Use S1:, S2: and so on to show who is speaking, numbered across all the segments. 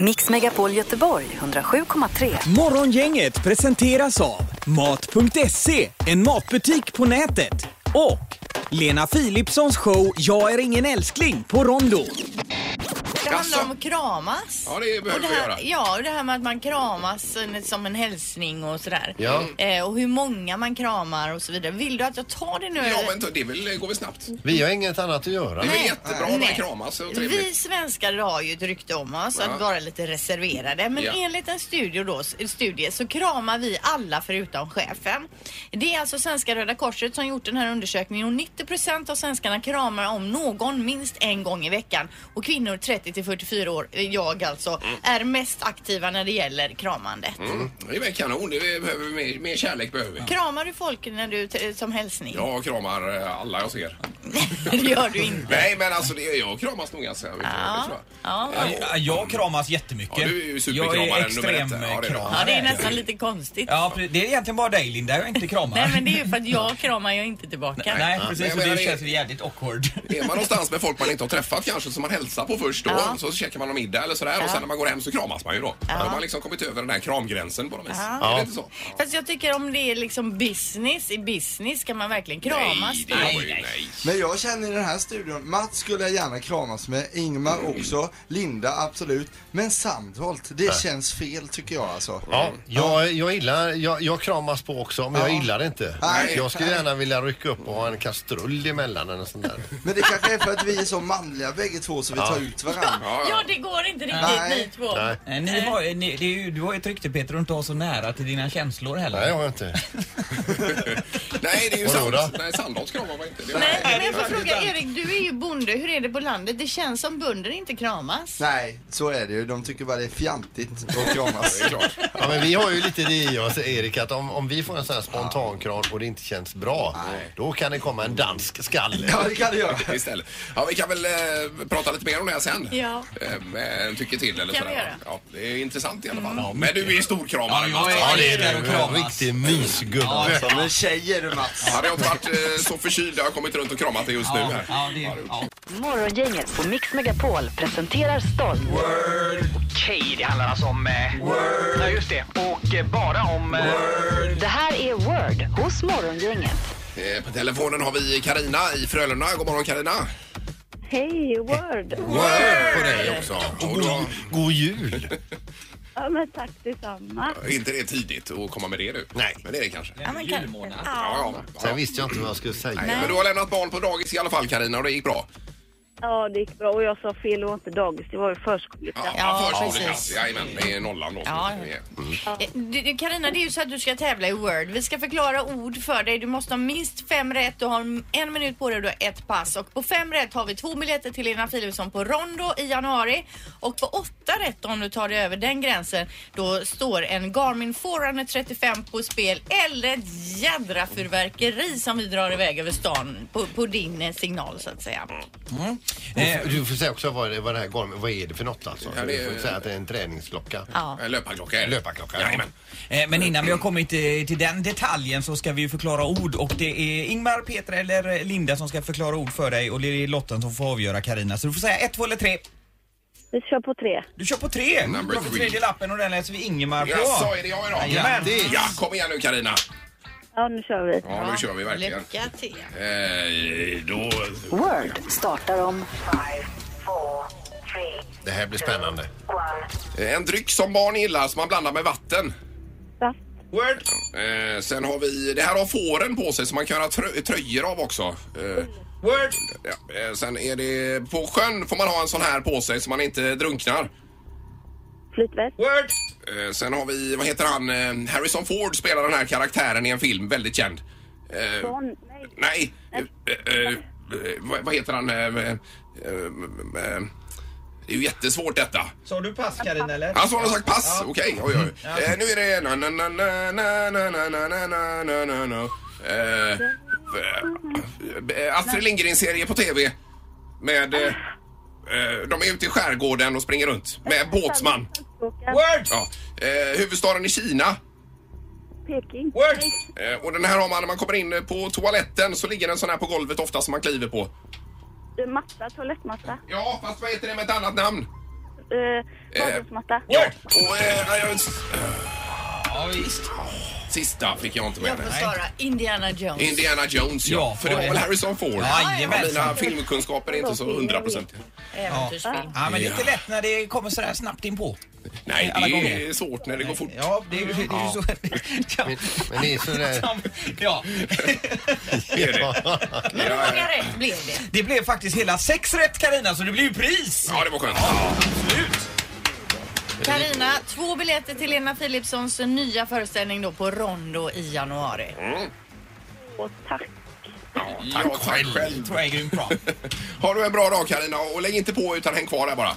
S1: Mix Megapol Göteborg 107,3.
S2: Morgongänget presenteras av Mat.se, en matbutik på nätet. Och Lena Philipssons show Jag är ingen älskling på Rondo.
S3: Det handlar om att kramas.
S4: Ja, det behöver
S3: och det
S4: vi
S3: här,
S4: göra.
S3: Ja, och det här med att man kramas en- som en hälsning och sådär.
S5: Ja.
S3: Eh, och hur många man kramar och så vidare. Vill du att jag tar det nu?
S4: Ja, men det är väl, går väl snabbt?
S3: Mm.
S4: Det
S5: Vi har inget annat att göra.
S4: är väl
S3: Nej.
S4: jättebra om man
S3: Nej.
S4: kramas och
S3: Vi
S4: trevligt.
S3: svenskar har ju ett rykte om oss att vara lite reserverade men
S4: Ja.
S3: enligt en studie, då, studie så kramar vi alla förutom chefen. Det är alltså Svenska Röda Korset som gjort den här undersökningen och 90 av svenskarna kramar om någon minst en gång i veckan och kvinnor 30 till 44 år, jag alltså, är mest aktiva när det gäller kramandet.
S4: Mm. Det är väl kanon. Det behöver vi mer, mer kärlek behöver vi.
S3: Kramar du folk när du t- som hälsning?
S4: Jag kramar eh, alla jag ser.
S3: det gör du inte.
S4: Nej, men alltså det, jag kramas nog ganska mycket. det tror jag.
S3: Ja.
S2: Ja, Jag kramas jättemycket.
S4: Ja, du är ju
S2: jag
S4: superkramaren
S2: är
S4: nummer
S2: extrem
S4: ett. Ja, det är du.
S2: kramare.
S3: ja, det är nästan lite konstigt.
S2: Ja, pre- det är egentligen bara dig Linda jag inte kramar.
S3: Nej men det är ju för att jag kramar ju inte tillbaka.
S2: Nej,
S4: Men
S2: precis.
S4: jag
S2: Och det
S4: menar,
S2: känns
S4: det-
S2: ju jävligt awkward. Eh,
S4: Är man någonstans med folk man inte har träffat kanske som man hälsar på först då
S3: Ja.
S4: så käkar man någon middag eller sådär och sen när man går hem så kramas man ju då. Då har man liksom kommit över den här kramgränsen på något vis. Är det inte så?
S3: Fast jag tycker om det är liksom business, i business ska man verkligen kramas.
S4: Nej, det går ju,
S2: Nej,
S4: nej.
S6: Men jag känner i den här studion, Mats skulle jag gärna kramas med, Ingmar också, Linda absolut, men Sandholt, det känns fel tycker jag alltså.
S5: Ja, jag, jag, gillar, jag, jag kramas på också, men jag gillar det inte.
S6: Nej.
S5: Jag skulle gärna vilja rycka upp och ha en kastrull emellan eller sånt där.
S6: Men det kanske är för att vi är så manliga bägge två så vi tar ut varandra.
S4: Ja,
S3: Ja,
S4: ja.
S3: det går inte riktigt
S6: Nej.
S3: ni två.
S5: Nej,
S2: Eh, Ni har, ni, det är ju, du har ju ett rykte Peter att inte ha så nära till dina känslor heller.
S5: Nej, jag har inte.
S4: Nej, det är ju
S5: Vadå
S4: sant.
S5: då?
S4: Nej, Sandholt kramar man inte. Det är-
S3: Nej, men jag
S4: det är-
S3: får fråga Erik, du är ju bonde. Hur är det på landet? Det känns som bönder inte kramas.
S6: Nej, så är det ju. De tycker bara det är fjantigt att kramas.
S4: Det är klart.
S5: Ja, men vi har ju lite det i oss, Erik, att om, om vi får en sån här spontankram och det inte känns bra, då kan det komma en dansk skalle.
S6: Ja, det kan det göra.
S4: istället. Ja, vi kan väl eh, prata lite mer om det här sen.
S3: Ja.
S4: Eh, med en tycker till
S3: Kan
S4: eller
S3: vi
S4: sådär.
S3: göra. Mm.
S4: Ja, det är intressant i alla fall. Men du är ju storkramare.
S2: Ja, jag är-
S4: Mats.
S5: Ja, det är
S2: Älskar att
S5: du. En
S2: kramas.
S5: riktig mysgubbe.
S6: Som en tjej är du Mats.
S4: Hade jag inte varit eh, så förkyld jag har kommit runt och kramat dig just nu
S2: Ja,
S4: här.
S2: ja, det, ja.
S1: Morgongänget på Mix Megapol presenterar stolt.
S7: Okej, det handlar alltså om... Eh, Word. Ja, just det. Och eh, bara om... Eh,
S1: Det här är Word hos Morgongänget.
S4: Eh, på telefonen har vi Karina i Frölunda. God morgon Karina.
S8: Hej, Word!
S4: Word på dig också. Och då,
S5: God jul!
S8: Ja, men tack detsamma.
S4: inte det tidigt att komma med det du. Nej. Men det är det kanske. Ja,
S3: Ja, men kan...
S4: ja.
S5: Sen visste jag inte vad jag skulle säga.
S4: Nej. Men du har lämnat barn på dagis i alla fall Karina och det gick bra.
S8: Ja, det gick bra. Och jag sa fel, det var inte dagis, det var ju förskoleklass.
S3: Ja,
S4: förskoleklass.
S3: precis.
S4: Jajamän, det är nollan då. Mm. som
S3: Ja.
S4: är med.
S3: Eh, du- du, Carina, det är ju så att du ska tävla i Word. Vi ska förklara ord för dig. Du måste ha minst fem rätt. Du har en minut på dig och du har ett pass. Och på fem rätt har vi två biljetter till Lena Philipsson på Rondo i januari. Och på åtta rätt, om du tar dig över den gränsen, då står en Garmin Forerunner 35 på spel eller ett jädra fyrverkeri som vi drar iväg över stan på, på din eh, signal så att säga.
S2: Eh,
S5: Du får säga också vad det, vad det här går med. Vad är det för något alltså?
S4: Ja, det är-
S5: Du får säga att det är en träningsklocka.
S3: Ja.
S4: En Eh, löparklocka är det.
S5: Löparklocka, ja.
S4: Jajamän.
S2: Eh, Men innan vi har kommit eh, till den detaljen så ska vi ju förklara ord och det är Ingmar, Peter eller eh, Linda som ska förklara ord för dig och det är Lotten som får avgöra Karina. Så du får säga ett, två eller tre.
S8: Vi kör på tre.
S2: Du kör på tre!
S4: Number
S2: Du får
S4: three.
S2: tredje lappen och den läser vi Ingemar på.
S4: Jaså, är det jag idag?
S2: Jajamän.
S5: Grattis.
S4: Ja, kom igen nu Karina.
S8: Ja, nu kör vi.
S4: Ja, nu kör vi verkligen.
S3: Lycka till.
S4: Eh, då...
S1: Word startar om
S5: Det här blir spännande.
S4: Eh, En dryck som barn gillar som man blandar med vatten.
S8: Saft.
S4: Word. Eh, sen har vi, det här har fåren på sig som man kan göra trö- tröjor av också. Eh,
S2: Word.
S4: ja. eh, sen är det, på sjön får man ha en sån här på sig så man inte drunknar.
S8: Flytväst.
S2: Word.
S4: Eh, sen har vi, vad heter han, eh, Harrison Ford spelar den här karaktären i en film, väldigt känd. Eh,
S8: Barn. Nej.
S4: nej, eh, eh, eh, vad, vad heter han? Eh, eh, eh, eh, det är ju jättesvårt detta.
S2: Sa du pass Karina eller?
S4: Alltså han har sagt pass, okej. Oj, oj. Eh, nu är det... Na, na, na, na, na, na, na, na, na, na, na, na, na. Eh, eh, eh, Astrid Lindgren-serie på TV med... eh, eh, De är ute i skärgården och springer runt med båtsman.
S8: Sandboken.
S2: Word.
S4: Ja. Eh, Huvudstaden i Kina.
S8: Peking.
S2: Word.
S8: Nej.
S4: Eh, Och den här har man när man kommer in på toaletten så ligger den sån här på golvet ofta som man kliver på.
S8: Eh, Matta. Toalettmatta.
S4: Ja, fast vad heter det med ett annat namn?
S8: eh, badrumsmatta.
S4: Ja, och... Eh, nej, jag-
S2: Ja, visst.
S4: sista fick jag inte med
S3: Jag får
S4: mig.
S3: svara Indiana Jones.
S4: Indiana Jones, ja.
S2: Ja,
S4: för det var
S2: och-
S4: väl Harrison Ford?
S2: Jajamensan.
S4: Mina filmkunskaper är inte så hundraprocentiga.
S3: Äventyrsfilm.
S2: Ja, men det är inte
S4: Ja.
S2: lätt när det kommer sådär snabbt inpå.
S4: Nej,
S2: Alla
S4: det är
S2: gånger.
S4: svårt när det går fort.
S2: Ja, det är ju det är ju så. Ja.
S5: Men, men det är sådär...
S2: Ja,
S4: Det är det.
S3: Men hur många rätt blev det?
S2: det blev faktiskt hela sex rätt Karina så det blir ju pris!
S4: Ja, det var skönt. Ja,
S3: Karina, två biljetter till Lena Philipssons nya föreställning då på Rondo i januari.
S8: Och tack.
S4: tack själv.
S2: Tror jag är grymt bra.
S4: Har du en bra dag Karina och lägg inte på utan häng kvar där bara.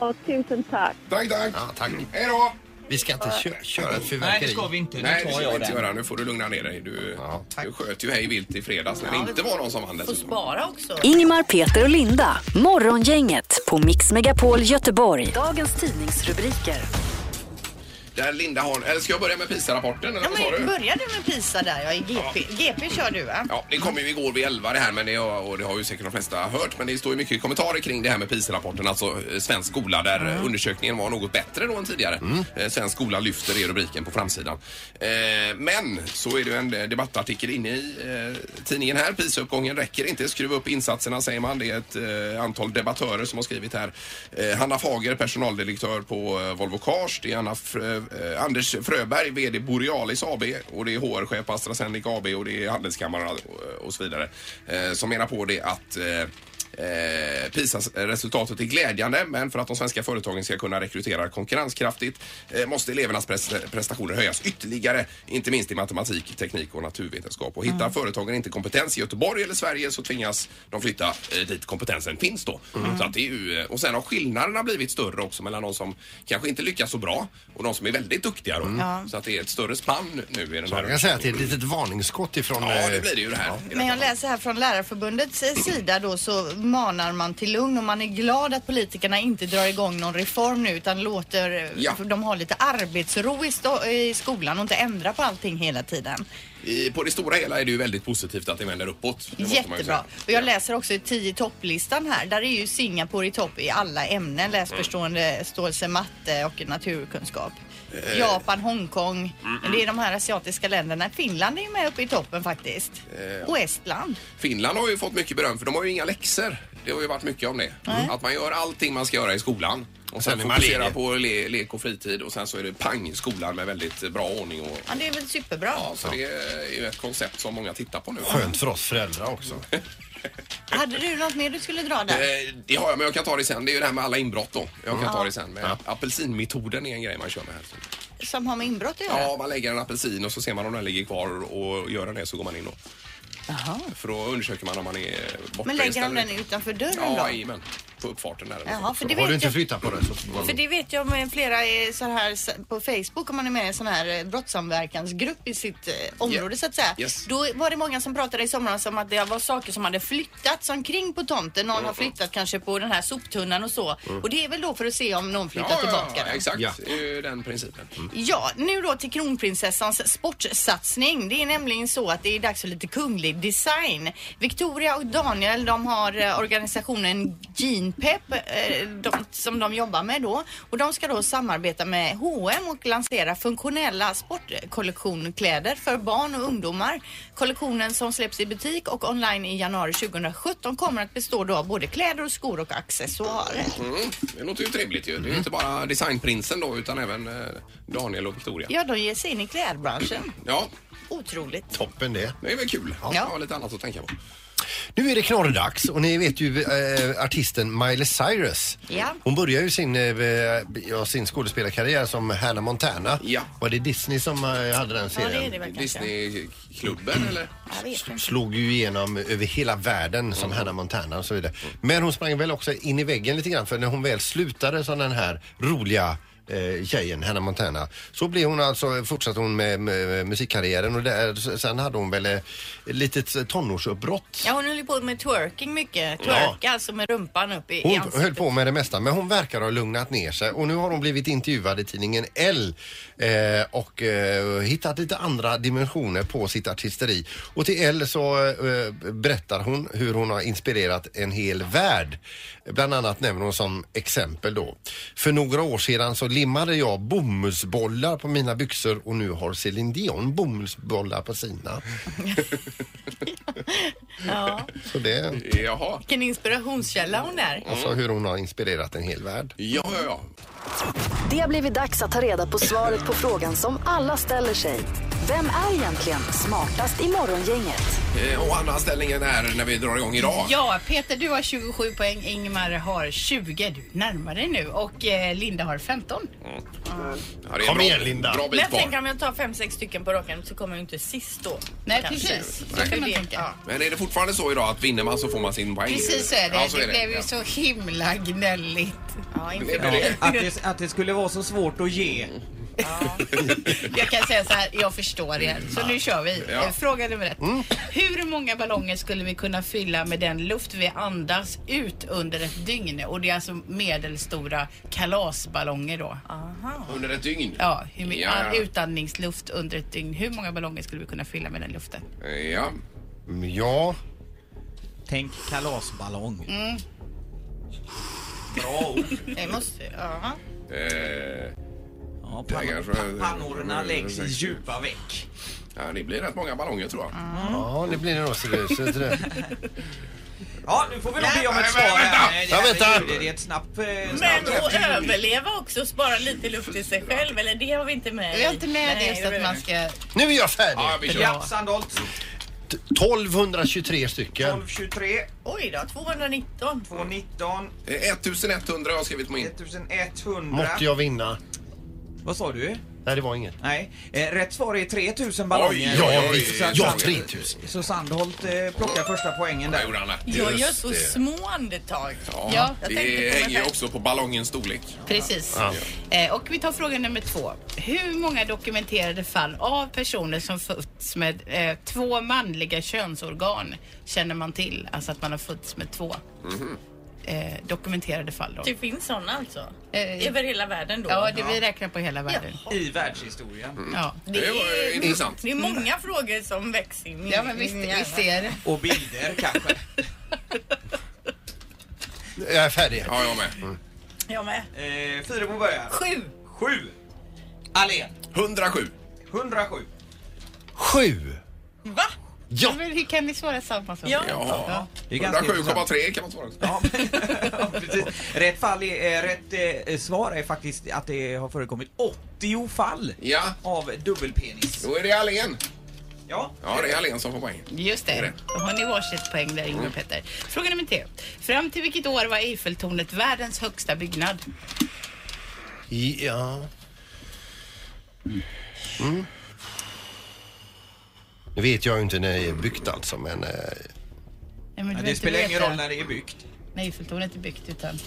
S8: Ja, tusen tack.
S4: Tack, tack.
S5: Ja, tack.
S4: Hej då!
S5: Vi ska inte kö köra ett
S2: Nej, det
S5: fyrverkeri.
S2: ska vi inte. Nu
S4: Nej, det
S2: tar
S4: ska vi
S2: jag
S4: inte
S2: den.
S4: göra. Nu får du lugna ner dig. Du,
S5: Ja,
S4: du sköt ju hej vilt i fredags när det inte var någon som
S3: Får
S4: vann dessutom.
S3: spara också.
S1: Ingmar, Peter och Linda. Morgongänget på Mix Megapol Göteborg. Dagens tidningsrubriker.
S4: Där Linda har... Eller ska jag börja med PISA-rapporten? Eller
S3: Ja,
S4: vad sa
S3: men
S4: du?
S3: började med PISA där ja, i GP. GP kör du va?
S4: Ja, det kom ju igår vid 11 det här men det, och det har ju säkert de flesta hört men det står ju mycket kommentarer kring det här med PISA-rapporten, alltså eh, svensk skola där eh, undersökningen var något bättre då än tidigare. Eh, Svensk skola lyfter är rubriken på framsidan. Eh, Men så är det ju en eh, debattartikel inne i eh, tidningen här. PISA-uppgången räcker inte, skruva upp insatserna säger man. Det är ett eh, antal debattörer som har skrivit här. Eh, Hanna Fager, personaldirektör på eh, Volvo Cars. Det är Anna Frö, eh, Anders Fröberg, VD Borealis AB och det är HR-chef på AstraZeneca AB och det är Handelskammaren och, och så vidare eh, som menar på det att eh, Eh, PISA-resultatet är glädjande men för att de svenska företagen ska kunna rekrytera konkurrenskraftigt eh, måste elevernas pres- prestationer höjas ytterligare, inte minst i matematik, teknik och naturvetenskap. Och hittar företagen inte kompetens i Göteborg eller Sverige så tvingas de flytta eh, dit kompetensen finns då. Så att det är ju, eh, och sen har skillnaderna blivit större också mellan de som kanske inte lyckas så bra och de som är väldigt duktiga då. Så att det är ett större spann nu i den
S5: Jag kan
S4: här...
S5: säga att det är ett litet varningsskott ifrån...
S4: Ja, det
S5: eh,
S4: blir det ju det här.
S3: Men jag läser här från Lärarförbundets eh, sida då så manar man till lugn och man är glad att politikerna inte drar igång någon reform nu utan låter eh,
S4: Ja.
S3: dem ha lite arbetsro i, sto- i skolan och inte ändra på allting hela tiden.
S4: I, på det stora hela är det ju väldigt positivt att det vänder uppåt. Det måste man ju
S3: Jättebra.
S4: säga.
S3: Och jag läser också i 10 topplistan här. Där är ju Singapore i topp i alla ämnen. Läsförstående,
S4: Mm.
S3: ståelse, matte och naturkunskap.
S4: Eh.
S3: Japan, Hongkong. Det är de här asiatiska länderna. Finland är ju med uppe i toppen faktiskt.
S4: Eh.
S3: Och Estland.
S4: Finland har ju fått mycket beröm för de har ju inga läxor. Det har ju varit mycket om det. Att man gör allting man ska göra i skolan. Och sen,
S5: Sen är man
S4: fokuserar
S5: ledig.
S4: på le, lek och fritid och sen så är det pang skolan med väldigt bra ordning. Och,
S3: Ja, det är väl superbra.
S4: ja, så det är ju ett koncept som många tittar på nu.
S5: Skönt för oss föräldrar också.
S3: Hade du något mer du skulle dra där?
S4: Eh, Det har jag, men jag kan ta det sen. Det är ju det här med alla inbrott då. Jag kan ta det sen. Men Apelsinmetoden är en grej man kör med här.
S3: Som har med inbrott att göra?
S4: Eh. Ja, man lägger en apelsin och så ser man om den ligger kvar och gör den det så går man in då. För då undersöker man om man är borta
S3: Men lägger de
S4: istället.
S3: den utanför dörren
S4: Ja,
S3: då?
S4: jajamän. På uppfarten där.
S3: Jaha, för det
S5: Har du
S3: vet
S5: inte
S3: jag.
S5: flyttat på det så...
S3: För det vet jag med flera eh, så här s- på Facebook om man är med i en sån här eh, brottssamverkansgrupp i sitt eh, område
S4: Yeah.
S3: så att säga.
S4: Yes.
S3: Då var det många som pratade i somras om att det var saker som hade flyttats omkring på tomten. Någon har flyttat kanske på den här soptunnan och så. Och det är väl då för att se om någon flyttar tillbaka
S4: Mm. ja,
S3: den.
S4: Exakt,
S5: Ja. Mm.
S4: det är ju den principen.
S3: Ja, nu då till kronprinsessans sportsatsning. Det är nämligen så att det är dags för lite kunglig design. Victoria och Daniel, de har eh, organisationen Genpep eh, de, som de jobbar med då. Och de ska då samarbeta med H&M och lansera funktionella sportkollektionkläder för barn och ungdomar. Kollektionen som släpps i butik och online i januari 2017 kommer att bestå då av både kläder och skor och accessoarer.
S4: Mm. Det låter ju trevligt ju. Det är
S5: Mm.
S4: ju inte bara designprinsen då utan även eh, Daniel och Victoria. Ja.
S3: Ja, de ger sig in i klädbranschen. Otroligt.
S5: Toppen det.
S4: det är väl kul. Ja. Jag har lite annat att tänka på.
S5: Nu är det knorrdags och ni vet ju eh, artisten Miley Cyrus.
S3: Ja.
S5: Hon börjar ju sin, eh, ja, sin skådespelarkarriär som Hannah Montana.
S4: Ja.
S5: Var det Disney som eh, hade den
S3: Ja,
S5: serien?
S3: det är det väl kanske. Mm.
S4: Disneyklubben eller?
S3: Jag vet inte.
S5: slog ju igenom över hela världen som Hannah Montana och så vidare. Men hon sprang väl också in i väggen lite grann för när hon väl slutade som den här roliga eh, tjejen, Hannah Montana. Så blev hon alltså, fortsatte hon med, med musikkarriären och där, sen hade hon väl eh, litet tonårsuppbrott.
S3: Ja, hon höll ju på med twerking mycket. Twerk, alltså med rumpan upp i, i
S5: Hon
S3: ansiktet.
S5: höll på med det mesta men hon verkar ha lugnat ner sig och nu har hon blivit intervjuad i tidningen L eh, och eh, hittat lite andra dimensioner på sitt artisteri. Och till L så eh, berättar hon hur hon har inspirerat en hel värld. Bland annat nämner hon som exempel då. För några år sedan så limmade jag bomullsbollar på mina byxor och nu har Céline Dion bomullsbollar på sina.
S3: Ja.
S5: Så det
S4: Jaha.
S3: Vilken inspirationskälla hon är.
S5: alltså hur hon har inspirerat en hel värld.
S4: Ja, ja, ja.
S1: Det har blivit dags att ta reda på svaret på frågan som alla ställer sig. Vem är egentligen smartast i morgongänget?
S4: Eh, Och Anna, ställningen är när vi drar igång idag.
S9: Ja, Peter du har 27 poäng, Ingmar har 20. Du närmar dig nu och eh, Linda har 15.
S4: Ja, det är en
S5: Kom
S4: bra-
S5: igen, Linda.
S4: Bra
S3: Men
S4: bit
S3: jag tänker
S4: kvar.
S3: om jag tar fem, sex stycken på raken så kommer jag inte sist då.
S9: Nej,
S3: Kanske.
S9: precis. Så kan man
S3: Det-
S9: tänka.
S3: ja.
S4: Men är det fortfarande så idag att vinner man så får man sin poäng?
S9: Precis så är det.
S4: Ja, så är
S9: det.
S4: det.
S9: blev ju
S4: Ja.
S9: så himla gnälligt.
S3: Ja,
S4: Det
S3: inte
S4: blir det.
S2: Att det, att det skulle vara så svårt att ge.
S9: Jag kan säga så här, jag förstår er. Så nu kör vi.
S4: Ja.
S9: Eh, Fråga nummer ett. Hur många ballonger skulle vi kunna fylla med den luft vi andas ut under ett dygn? Och det är alltså medelstora kalasballonger då.
S4: Under ett dygn?
S9: Ja, hur mycket
S4: Ja.
S9: utandningsluft under ett dygn. Hur många ballonger skulle vi kunna fylla med den luften?
S4: Ja.
S5: Mm, Ja,
S2: Tänk kalasballong.
S4: Mm.
S9: Det måste, ja.
S4: Eh,
S2: Ja,
S4: Det Mm,
S2: pann-
S4: kanske-
S2: pa- pannorna läggs i djupa veck.
S4: ja, det blir rätt många ballonger tror jag.
S9: Mm.
S5: ja det blir det nog. ser det ut. Så det-
S2: Ja, nu får vi nog be om
S4: Nej,
S2: ett svar.
S4: men vänta!
S2: här. Det här
S5: Ja, vänta.
S2: är- Det är ett snabbt... eh,
S3: Men
S2: snabbt.
S3: att överleva också och spara lite luft till sig själv, eller det har vi inte med
S9: Vi har inte med det just
S3: behöver
S9: att man
S3: vi.
S9: ska...
S5: Nu är jag färdig!
S4: Ja, vi kör.
S2: Ja, Sandholt.
S5: 1223 stycken.
S2: 1223,
S3: Oj då, 219.
S2: 219,
S4: Eh, 1100 har jag skrivit på min.
S2: 1100.
S5: Måtte jag vinna.
S2: Vad sa du?
S5: Nej, det var inget.
S2: Nej. Eh, rätt svar är 3000 ballonger.
S4: Oj,
S5: Ja,
S4: oj,
S5: visst.
S4: oj.
S5: Ja, 3000.
S2: Så Sandholt eh, plockar första poängen
S4: Där
S2: där.
S4: gjorde han det.
S3: Jag gör
S4: Just
S3: så
S4: det.
S3: små andetag.
S9: Ja,
S4: Ja,
S9: jag tänkte på
S4: det
S9: mig
S4: hänger ju
S9: själv.
S4: också på ballongens storlek.
S9: Precis.
S5: Ja.
S9: Eh, och vi tar fråga nummer två. Hur många dokumenterade fall av personer som fötts med eh, två manliga könsorgan känner man till? Alltså att man har fötts med två
S2: Mhm.
S9: eh, dokumenterade fall då.
S3: Det finns såna alltså?
S9: Eh,
S3: Över hela världen då?
S9: Ja, det, vi räknar på hela världen.
S2: I
S4: Mm.
S2: världshistorien.
S9: Ja.
S4: Det var intressant.
S9: Mm.
S3: Det är många frågor som väcks in i
S9: Ja men visst,
S3: min hjärna.
S9: visst är det.
S2: Och bilder kanske.
S5: Jag är färdig.
S4: Ja, jag med.
S3: Jag med.
S2: Eh, Fyrebo börjar.
S3: Sju.
S2: 7. Allén.
S4: 107.
S2: 107.
S5: Sju.
S3: Va?
S5: Ja.
S9: Men hur kan ni svara samma sak?
S3: Ja.
S4: Ja.
S2: Det är ganska intressant.
S4: 107,3 kan man svara också.
S2: Ja, ja, precis. Rätt, fall är, eh, rätt eh, svar är faktiskt att det har förekommit 80 fall
S4: Ja.
S2: av dubbelpenis.
S4: Då är det Allén.
S2: Ja.
S4: Ja, det är Allén som får poäng.
S9: Just
S4: Är
S9: det.
S2: Mm.
S4: det?
S9: Då har ni varsitt poäng där, Ingmar och Petter. Fråga nummer tre. Fram till vilket år var Eiffeltornet världens högsta byggnad?
S5: Ja. Mm. Nu vet jag ju inte när det är byggt alltså, men... eh,
S9: Nej, men
S2: Men
S9: du vet
S2: det
S9: inte
S2: spelar ingen
S9: veta.
S2: roll när det är byggt.
S9: Nej, Eiffeltornet är byggt utan...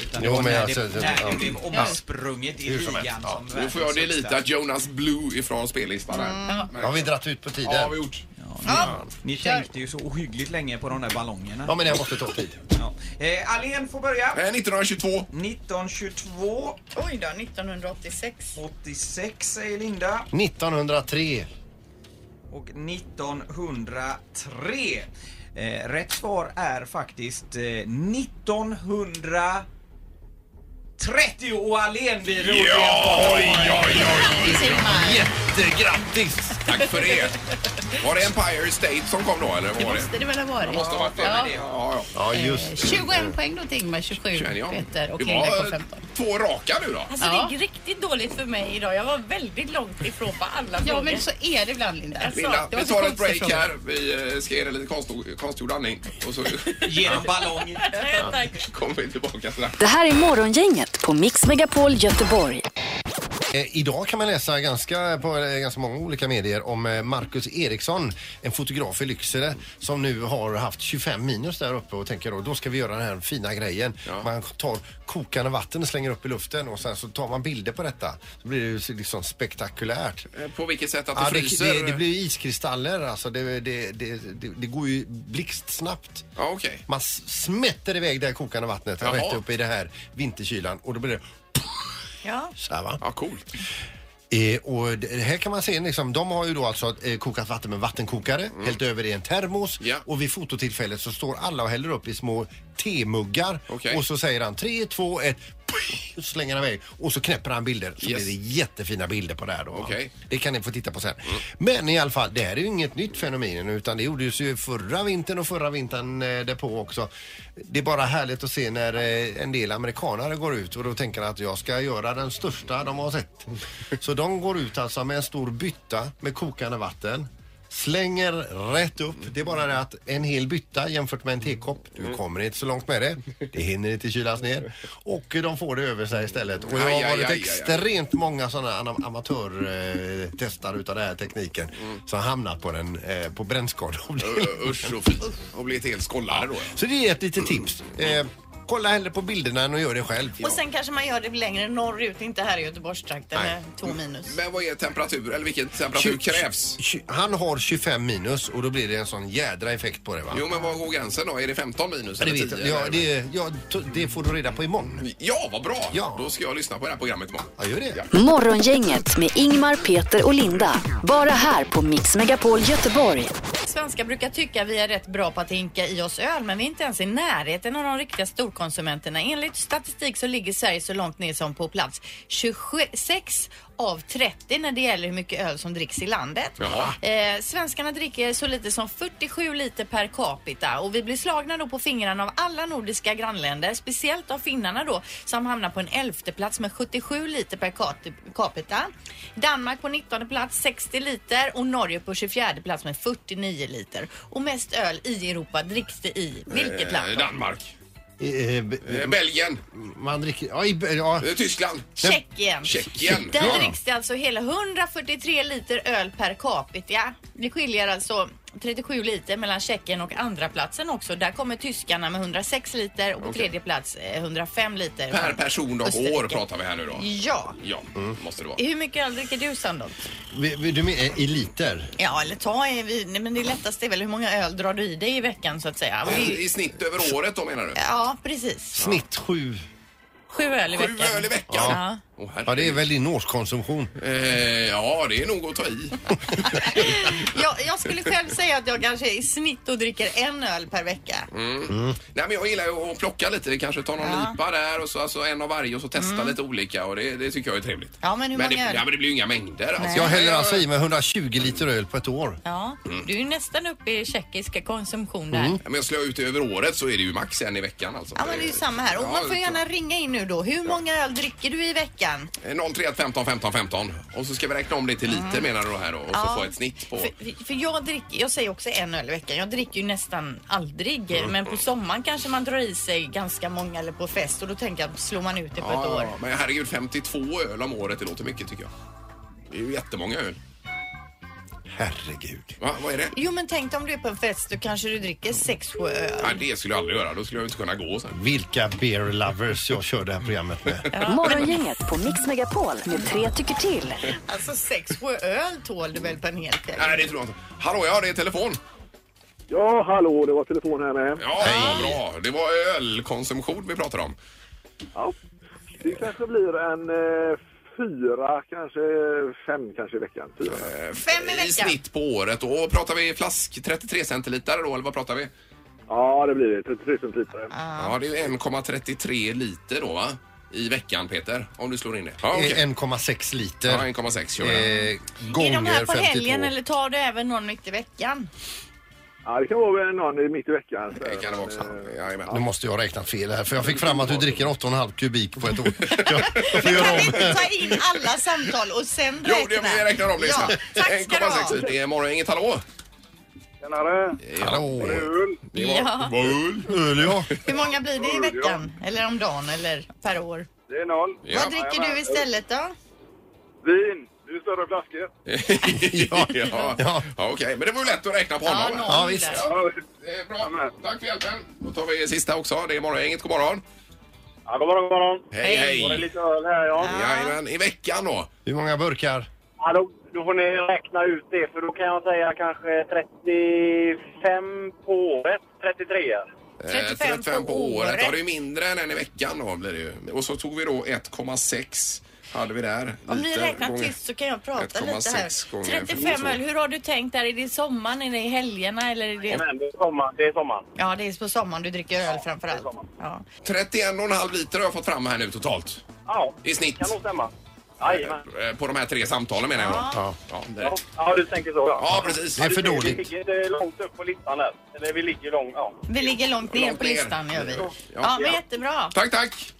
S2: Utan
S5: Jo,
S2: det var
S5: men
S2: när
S5: alltså,
S2: det,
S5: det-
S2: när
S5: ja.
S2: det blev omsprunget i
S5: Hur som
S2: ligan
S5: helst,
S2: som
S4: Nu får jag delita Jonas Blue ifrån spellistan här.
S5: Har vi dratt ut på tiden?
S4: Ja, har vi gjort.
S2: Ni tänkte ju så ohyggligt länge på de där ballongerna.
S5: Ja, men jag måste ta tid.
S2: Ja. Eh, Allén får börja.
S4: Eh, 1922.
S2: 1922,
S3: Oj då, 1986.
S2: 86 säger Linda
S5: 1903.
S2: och 1903. Eh, rätt svar är faktiskt eh, 1930 och Allén blir rolig.
S4: oj, oj, oj.
S9: Grattis Ingmar!
S5: Jättegrattis!
S4: Tack för det. Var det Empire State som kom då, eller vad
S9: Det
S4: var det?
S9: måste det väl ha varit?
S4: Det måste ha varit det.
S9: Ja.
S4: men det- Ja, ja.
S5: Ja,
S9: Eh,
S5: just det.
S9: 21 poäng då till Ingmar, 27
S4: Känner jag.
S9: Peter och
S4: Det
S9: Linda
S4: var
S9: kom
S4: eh,
S9: 15.
S4: två raka nu då.
S3: Alltså
S9: Ja.
S3: det gick riktigt dåligt för mig idag. Jag var väldigt långt ifrån på alla
S9: Ja,
S3: frågor.
S9: men så är det ibland Linda.
S4: Linda,
S9: Det var
S4: vi
S9: så
S4: tar ett
S9: konstiga
S4: break
S9: frågor.
S4: här. Vi eh, ska ge dig lite konstgjord- konstgjord andning. Och så
S2: Genom ballong.
S3: Nej, tack.
S4: kommer vi tillbaka strax.
S1: Det här är morgongänget på Mix Megapol Göteborg.
S5: Eh, idag kan man läsa ganska, på eh, ganska många olika medier om eh, Marcus Eriksson, en fotograf i Lycksele som nu har haft 25 minus där uppe och tänker då, då ska vi göra den här fina grejen.
S4: Ja.
S5: Man tar kokande vatten och slänger upp i luften och sen så tar man bilder på detta. Så blir det ju så liksom spektakulärt.
S4: Eh, På vilket sätt att det
S5: Ja, det,
S4: fryser?
S5: det, det blir ju iskristaller alltså. Det, det, det, det, det går ju blixtsnabbt.
S4: Ja, okej.
S5: Man s- smätter iväg det här kokande vattnet
S4: Jaha.
S5: rätt upp i det här vinterkylan och då blir det
S3: Ja.
S5: så här va.
S4: Ja, coolt.
S5: Eh, och det här kan man se, liksom, de har ju då alltså eh, kokat vatten med vattenkokare, hällt över i en termos
S4: Mm. Ja.
S5: och vid fototillfället så står alla och häller upp i små temuggar
S4: Okej.
S5: och så säger han 3, 2, 1 och så slänger han iväg och så knäpper han bilder. Så
S4: Yes.
S5: blir det jättefina bilder på det här då. va.
S4: Okej.
S5: Det kan ni få titta på sen. Men i alla fall, det här är ju inget nytt fenomen utan det gjordes ju förra vintern och förra vintern eh, därpå också. Det är bara härligt att se när eh, en del amerikanare går ut och då tänker att jag ska göra den största de har sett. Så de går ut alltså med en stor bytta med kokande vatten. Slänger rätt upp. Det är bara det att en hel bytta jämfört med en tekopp,
S4: Mm.
S5: du kommer inte så långt med det. Det hinner inte kylas ner. Och de får det över sig istället. Och jag
S4: Aj, aj,
S5: har
S4: aj,
S5: varit
S4: aj, aj.
S5: extra extremt många sådana am- amatörtestare eh, utav den här tekniken som hamnat på den eh, på brännskadeavdelningen.
S4: Ö, Usch och fy. Och blir ett helt skållare då.
S5: Så det är ett litet tips. Eh, kolla hellre på bilderna än att göra det själv.
S9: Och sen kanske man gör det längre norrut, inte här i Göteborgstrakten
S5: Nej.
S9: med två minus.
S4: Mm. Men vad är temperatur, eller vilken temperatur
S5: Tju-
S4: krävs?
S5: tju- Han har 25 minus och då blir det en sån jädra effekt på det va?
S4: Jo, men vad går gränsen då? Är det 15 minus
S5: Ja, det,
S4: eller
S5: vet
S4: 10?
S5: jag. Ja,
S4: eller?
S5: det, ja, to- det får du reda på imorgon.
S4: ja, vad bra!
S5: Ja.
S4: Då ska jag lyssna på det här programmet imorgon.
S5: Ja, gör det.
S1: Morgongänget med Ingmar, Peter och Linda. Bara här på Mix Megapol Göteborg.
S3: Svenskar brukar tycka vi är rätt bra på att hinka i oss öl men vi är inte ens i närheten av de riktiga storkonsumenterna. Enligt statistik så ligger Sverige så långt ner som på plats 26 av 30 när det gäller hur mycket öl som dricks i landet.
S4: Jaha.
S3: Eh, svenskarna dricker så lite som 47 liter per capita och vi blir slagna då på fingrarna av alla nordiska grannländer, speciellt av finnarna då som hamnar på en elfte plats med 77 liter per kat- capita. Danmark på 19 plats 60 liter och Norge på 24 plats med 49 liter. Och mest öl i Europa dricks det i vilket land?
S4: Eh,
S3: då?
S4: Danmark.
S5: Eh, eh, b-
S4: Eh, Belgien.
S5: Man dricker... Ja, i, ja.
S4: Eh, Tyskland.
S3: Tjeckien.
S4: Tjeckien.
S3: Där
S4: Ja.
S3: dricks det alltså hela 143 liter öl per capita. Det skiljer alltså 37 liter mellan Tjeckien och andra platsen också. Där kommer tyskarna med 106 liter och på
S4: Okej.
S3: tredje plats eh, 105 liter.
S4: Per person och
S3: Österrike.
S4: år pratar vi här nu då.
S3: Ja.
S4: Ja,
S5: Mm.
S4: måste det vara.
S3: Hur mycket öl dricker du Sandholt?
S5: Vi- vi- Du menar eh, i liter?
S3: Ja, eller ta en- vi- nej, men det lättaste är väl hur många öl drar du i dig i veckan så att säga? Och det-
S4: I snitt över året då menar du?
S3: Ja, precis.
S5: Snitt sju.
S3: Sju öl i
S4: Sju
S3: veckan.
S4: öl i veckan?
S3: Ja.
S4: Åh,
S5: Ja, det är
S4: herregud.
S5: väl din årskonsumtion.
S4: Eh, ja, det är nog att ta i.
S3: Jag, jag skulle själv säga att jag kanske i snitt då dricker en öl per vecka.
S5: Mm.
S4: Nej, men jag gillar ju att plocka lite. Kanske ta någon lipa där och så alltså, en av varje och så testa lite olika och det, det tycker jag är trevligt.
S3: Mm. Ja, men hur
S4: men, det,
S3: många öl?
S4: ja, men det blir ju inga mängder. Alltså.
S5: Jag häller alltså i mig 120 liter öl på ett år.
S3: Ja,
S4: Mm.
S3: du är ju nästan uppe i tjeckiska konsumtion där.
S4: Ja, Men jag slår ut det över året så är det ju max en i veckan alltså.
S3: Ja, men det är ju samma här. Och
S4: Ja,
S3: man får
S4: det-
S3: gärna ringa in nu då. Hur många öl dricker du i veckan?
S4: 031 15 15 15 och så ska vi räkna om det till liter menar du då här då och så
S3: Mm. Ja.
S4: få ett snitt på...
S3: För, för jag dricker, jag säger också en öl i veckan. Jag dricker ju nästan aldrig.
S4: Mm.
S3: Men på sommaren kanske man drar i sig ganska många eller på fest och då tänker jag, slår man ut det på ett
S4: Ja,
S3: år?
S4: ja, men herregud 52 öl om året det låter mycket tycker jag. Det är ju jättemånga öl.
S5: Herregud.
S4: Va, vad är det?
S3: Jo men tänk dig om du är på en fest, då kanske du dricker sex, sju öl.
S4: Nej, det skulle jag aldrig göra. Då skulle jag inte kunna gå sen.
S5: Vilka beer lovers jag kör det här programmet med.
S1: Morgongänget på Mix Megapol med tre tycker till.
S3: Alltså sex, sju öl tål du väl på en hel kväll?
S4: Nej, det tror jag inte. Hallå, ja, det är telefon.
S10: Ja, hallå, det var telefon här med.
S4: Ja, Hej. bra. Det var ölkonsumtion vi pratade om.
S10: Ja. Det kanske blir en eh, fyra, kanske fem kanske i veckan. Fyra.
S3: Fem i
S4: I
S3: veckan.
S4: snitt på året. Och pratar vi flask 33 centiliter då, eller vad pratar vi?
S10: Ja, det blir det. 33 centiliter.
S4: Ja, det är 1,33 liter då, va? I veckan, Peter, om du slår in det. Ja, okej.
S5: Eh, 1,6
S4: Ja,
S5: liter.
S4: 1,6 kör jag.
S5: Eh,
S3: Är de här
S5: gånger
S3: på helgen
S5: 52.
S3: eller tar du även någon mitt i veckan?
S10: Ja, det kan vara väl någon i mitt i veckan.
S4: Det kan det vara också.
S10: Eh,
S4: Jajamän.
S5: Nu måste jag ha räknat fel här för jag fick fram att du dricker 8,5 kubik på ett år. Jag, jag får
S3: Kan
S5: göra
S3: vi
S5: om.
S3: inte ta in alla samtal och sen räkna?
S4: Jo, det, vi räknar om det
S3: ja, Tack ska du ha.
S4: 1,6 liter. Det är morgon, inget hallå?
S10: Tjenare!
S5: Hallå.
S10: Öl.
S4: Det var,
S3: Ja.
S4: var öl.
S5: Öl ja.
S3: Hur många blir det i veckan? Eller om dagen eller per år?
S10: Det är noll.
S4: Ja.
S3: Vad dricker du istället då?
S10: Vin! Det är större flaskor.
S4: ja, ja. ja okej. Men det var ju lätt att räkna på
S10: Ja,
S4: honom.
S10: någon Ja, visst. där.
S4: Ja, det är bra. Tack för hjälpen. Då tar vi sista också. Det är Morgongänget. God morgon.
S10: Ja, god morgon, god morgon.
S4: Hej, hej.
S10: Var det lite öl här, ja?
S4: Jajamän, i veckan då.
S5: Hur många burkar?
S10: Ja, då, då får ni räkna ut det, för då kan jag säga kanske 35 på året. 33.
S4: Eh, 35 på året. Ja, det är ju mindre än en i veckan då blir det ju. Och så tog vi då 1,6 hade vi där.
S3: Om ni
S4: Lite
S3: räknar
S4: gånger-
S3: tyst så kan jag prata lite
S4: 1,6
S3: här.
S4: gånger
S3: 35 öl, hur har du tänkt där? Är det i sommaren, är det i helgerna eller är det...
S10: det är sommaren. Det är sommaren.
S3: Ja, det är på sommaren du dricker öl framförallt. Ja.
S4: 31,5 liter har jag fått fram här nu totalt.
S10: Ja,
S4: I snitt.
S10: kan nog stämma. Jajamän.
S4: Eh, På de här tre samtalen menar jag då.
S5: Ja.
S4: Ja, det-
S10: Ja, ja, du tänker så.
S4: Ja, precis. Det är
S10: Ja, du
S4: för
S10: ser,
S4: dåligt.
S10: Vi ligger eh, långt upp på listan där. Eller vi ligger långt, ja.
S3: Vi ligger långt ner på listan gör vi.
S4: Ja.
S3: Ja, men jättebra.
S4: Tack, tack.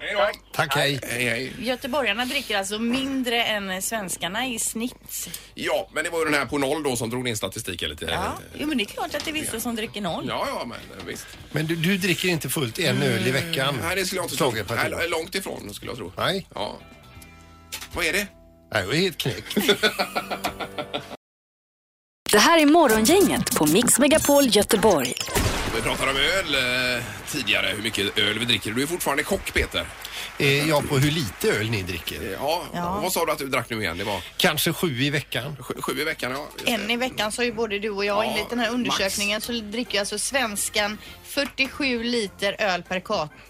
S4: Hej då.
S5: Tack, hej.
S4: Hej, hej.
S3: Göteborgarna dricker alltså mindre än svenskarna i snitt.
S4: Ja, men det var ju den här på noll då som drog in statistiken lite.
S3: Ja. Jo, men det är klart att det är vissa som dricker noll.
S4: Ja, ja, men eh, visst.
S5: Men du, du dricker inte fullt en öl i veckan?
S4: Mm. Nej, det skulle jag inte tro.
S5: Tage Partille.
S4: Nej, eh, långt ifrån skulle jag tro.
S5: Nej.
S4: Ja. Vad är det?
S5: Nej, det är ett knäck.
S1: Det här är Morgongänget på Mix Megapol Göteborg.
S4: Vi pratade om öl eh, tidigare, hur mycket öl vi dricker. Du är fortfarande kock, Peter.
S5: Eh, ja, på hur lite öl ni dricker.
S4: Ja, vad sa du att du drack nu igen? Det var
S5: Kanske sju i veckan.
S4: sju, sju i veckan, ja. Just det.
S3: En i veckan så har ju både du och jag enligt den här undersökningen så dricker ju alltså svenskan 47 liter öl per capita.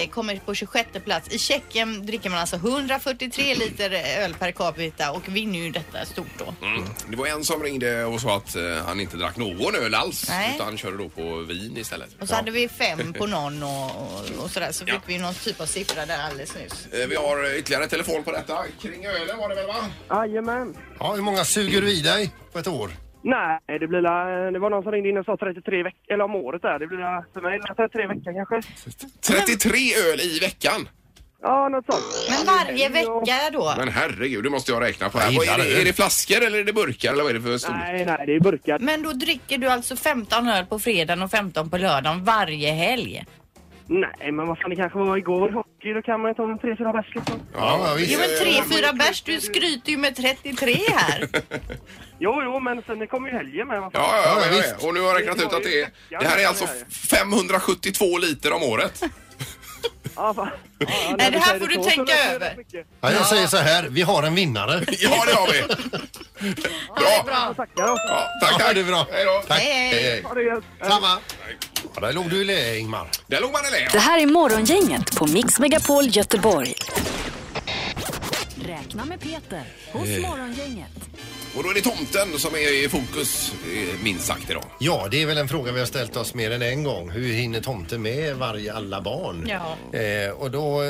S3: Eh, Kommer på 26 plats. I Tjeckien dricker man alltså 143 liter öl per capita och vinner ju detta stort då.
S4: Mm. Det var en som ringde och sa att eh, han inte drack någon öl alls
S3: Nej.
S4: utan körde då på vin istället.
S3: Och så hade vi fem på någon och, och, och sådär så fick vi någon typ av siffra där alldeles nyss.
S4: Eh, Vi har ytterligare telefon på detta. Kring ölen var det väl va?
S10: Jajamän.
S5: Ja, hur många suger du i dig på ett år?
S10: Nej, det blir la- Det var någon som ringde in och sa 33 veckor, eller om året där. Det blir la- för mig la- 33 veckor kanske.
S4: 33 öl i veckan!
S10: Ja, något sånt.
S3: Men varje vecka då?
S4: Men herregud, det måste jag räkna på.
S5: Jag
S4: Här. Vad är,
S5: gillar
S4: det,
S5: öl.
S4: är det flaskor eller är det burkar eller vad är det för stor?
S10: Nej, nej, det är burkar.
S3: Men då dricker du alltså 15 öl på fredagen och 15 på lördagen varje helg?
S10: Nej, men vad fan, det kanske var igår hockey. Då kan man ju ta en 3-4 bärs liksom.
S5: Ja, ja visst.
S3: Jo men 3-4 bärs, du skryter ju med 33 här.
S10: Jo, jo, men sen kommer ju helgen med. Vad fan.
S4: Ja, ja,
S5: Ja,
S4: ja,
S5: visst.
S4: ja. Och nu har jag räknat ut att det är... Det här är alltså 572 liter om året.
S10: Ja, fan. Ja, när
S3: Nej, det här
S10: säger
S3: får du
S10: så, så
S3: tänka
S10: låter det
S3: över.
S10: rätt mycket.
S5: Ja, jag säger så här, vi har en vinnare.
S4: Ja, det har vi! Bra!
S10: Jag tackar då.
S4: Ja, tack,
S5: Ja,
S4: tack!
S5: det är bra.
S4: Hej då!
S5: Tack.
S3: Hej, hej.
S10: Ha det gött.
S5: Samma. Ja, där låg du i lä, Ingmar.
S4: Där låg man i lä.
S1: Det här är Morgongänget på Mix Megapol Göteborg. Räkna med Peter hos Morgongänget.
S4: Och då är det tomten som är i fokus, eh, minst sagt, idag.
S5: Ja, det är väl en fråga vi har ställt oss mer än en gång. Hur hinner tomten med varje alla barn?
S3: Ja.
S5: Eh, och då eh,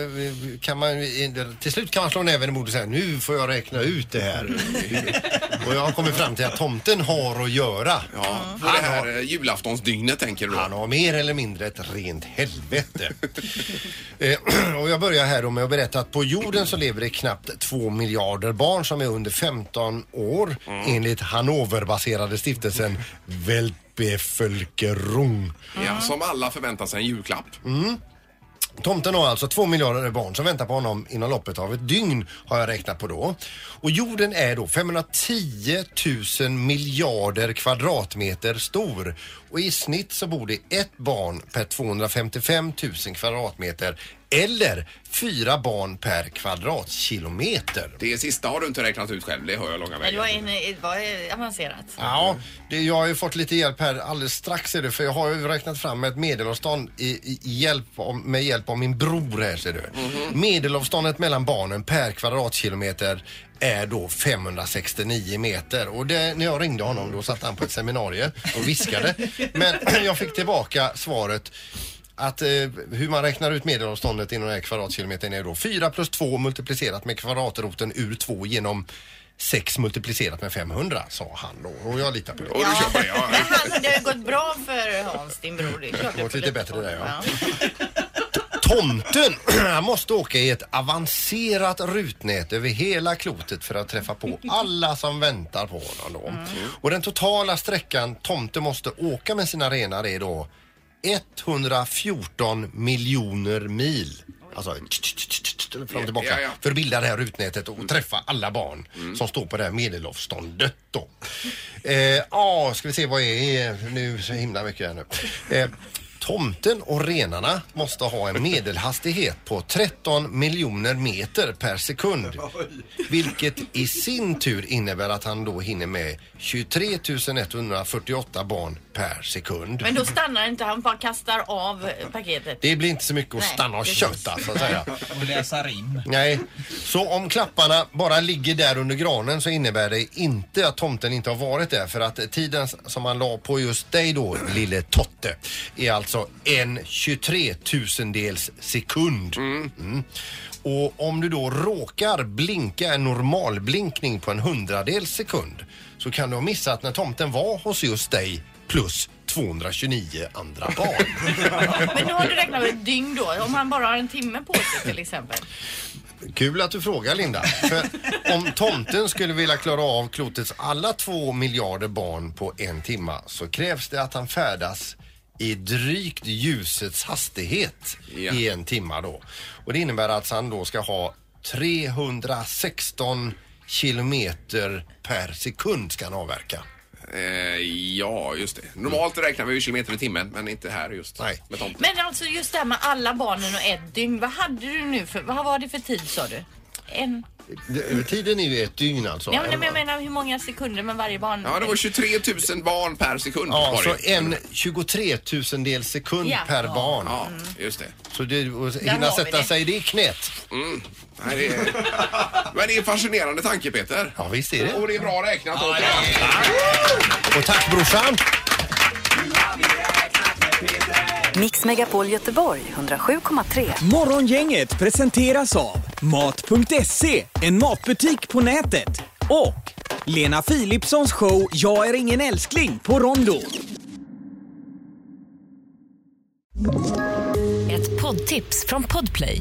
S5: kan man ju- till slut kan man slå näven i bordet och säga nu får jag räkna ut det här.
S3: Mm.
S5: och jag har kommit fram till att tomten har att göra.
S4: Ja, för det här eh, julaftonsdygnet tänker du då?
S5: Han har mer eller mindre ett rent helvete. eh, och jag börjar här då med att berätta att på jorden så lever det knappt 2 miljarder barn som är under 15 år
S4: Mm.
S5: enligt Hannoverbaserade stiftelsen Weltbevölkerung.
S4: Ja, som alla förväntar sig en julklapp.
S5: Mm. Tomten har alltså två miljarder barn som väntar på honom inom loppet av ett dygn har jag räknat på då. Och jorden är då 510 000 miljarder kvadratmeter stor och i snitt så bor det ett barn per 255 000 kvadratmeter eller fyra barn per kvadratkilometer.
S4: Det sista har du inte räknat ut själv, det hör jag långa
S3: Men det
S4: vägen.
S3: var, en, det var eh, avancerat.
S5: Ja, det, jag har ju fått lite hjälp här alldeles strax är det för jag har ju räknat fram ett medelavstånd i, i i hjälp om, med hjälp av min bror här ser du. Medelavståndet mellan barnen per kvadratkilometer är då 569 meter och det, när jag ringde honom då satt han på ett seminarium och viskade. Men jag fick tillbaka svaret att eh, hur man räknar ut medelavståndet inom den här kvadratkilometern är då 4 plus 2 multiplicerat med kvadratroten ur 2 genom 6 multiplicerat med 500 sa han då och jag litar på det.
S4: Och du köper det, ja.
S3: Men han, det har ju gått bra för Hans, din bror. Det är klart
S5: Det låter
S3: får
S5: lite bättre där, ja.
S3: Ja.
S5: Tomten han måste åka i ett avancerat rutnät över hela klotet för att träffa på alla som väntar på honom då.
S4: Mm.
S5: Och den totala sträckan tomten måste åka med sina renar är då 114 miljoner mil. Alltså tch, tch, tch, tch, tch, fram och tillbaka.
S4: Ja, ja.
S5: För att bilda det här rutnätet och träffa alla barn som står på det här medelavståndet då. Eh, Ja, ska vi se vad är eh, nu så himla mycket här nu. Eh, Tomten och renarna måste ha en medelhastighet på 13 miljoner meter per sekund. Vilket i sin tur innebär att han då hinner med 23 148 barn per sekund.
S3: Men då stannar inte han, bara kastar av paketet.
S5: Det blir inte så mycket att
S3: Nej,
S5: stanna och
S3: precis.
S5: köta så att säga.
S11: Och läsa rim.
S5: Nej, så om klapparna bara ligger där under granen så innebär det inte att tomten inte har varit där för att tiden som han la på just dig då, lille Totte, är alltså en 23 tusendels sekund. Mm. Och om du då råkar blinka en normal blinkning på en hundradels sekund så kan du ha missat när tomten var hos just dig plus 229 andra barn.
S3: Men då har du räknat med ett dygn då, om han bara har en timme på sig till exempel.
S5: Kul att du frågar Linda. För om tomten skulle vilja klara av klotets alla två miljarder barn på en timma så krävs det att han färdas i drygt ljusets hastighet
S4: Ja.
S5: i en timma då. Och det innebär att han då ska ha 316 kilometer per sekund ska han avverka.
S4: Eh, ja, just det. Normalt räknar vi ju kilometer i timmen, men inte här just.
S5: Nej.
S4: Med tomten.
S3: Men alltså just det här med alla barnen och ett dygn. Vad hade du nu för, vad var det för tid sa du? En?
S5: Det- Tiden är ju ett dygn alltså.
S3: Ja, men jag menar hur många sekunder med varje barn?
S4: Ja, det var 23 000 barn per sekund.
S5: Ja,
S4: var
S5: så
S4: det.
S5: en 23 000 sekund
S3: Ja.
S5: per
S3: Ja.
S5: barn.
S4: Ja, just det.
S5: Så det, och
S3: har
S5: hinna
S3: vi
S5: sätta
S3: det.
S5: sig i det knät.
S4: Nej, det är... Men det är en fascinerande tanke, Peter.
S5: Ja, visst är det.
S4: Och det är bra räknat också.
S5: Och tack brorsan!
S12: Mix Megapol Göteborg 107,3.
S2: Morgongänget presenteras av Mat.se, en matbutik på nätet. Och Lena Philipssons show Jag är ingen älskling på Rondo.
S1: Ett poddtips från Podplay.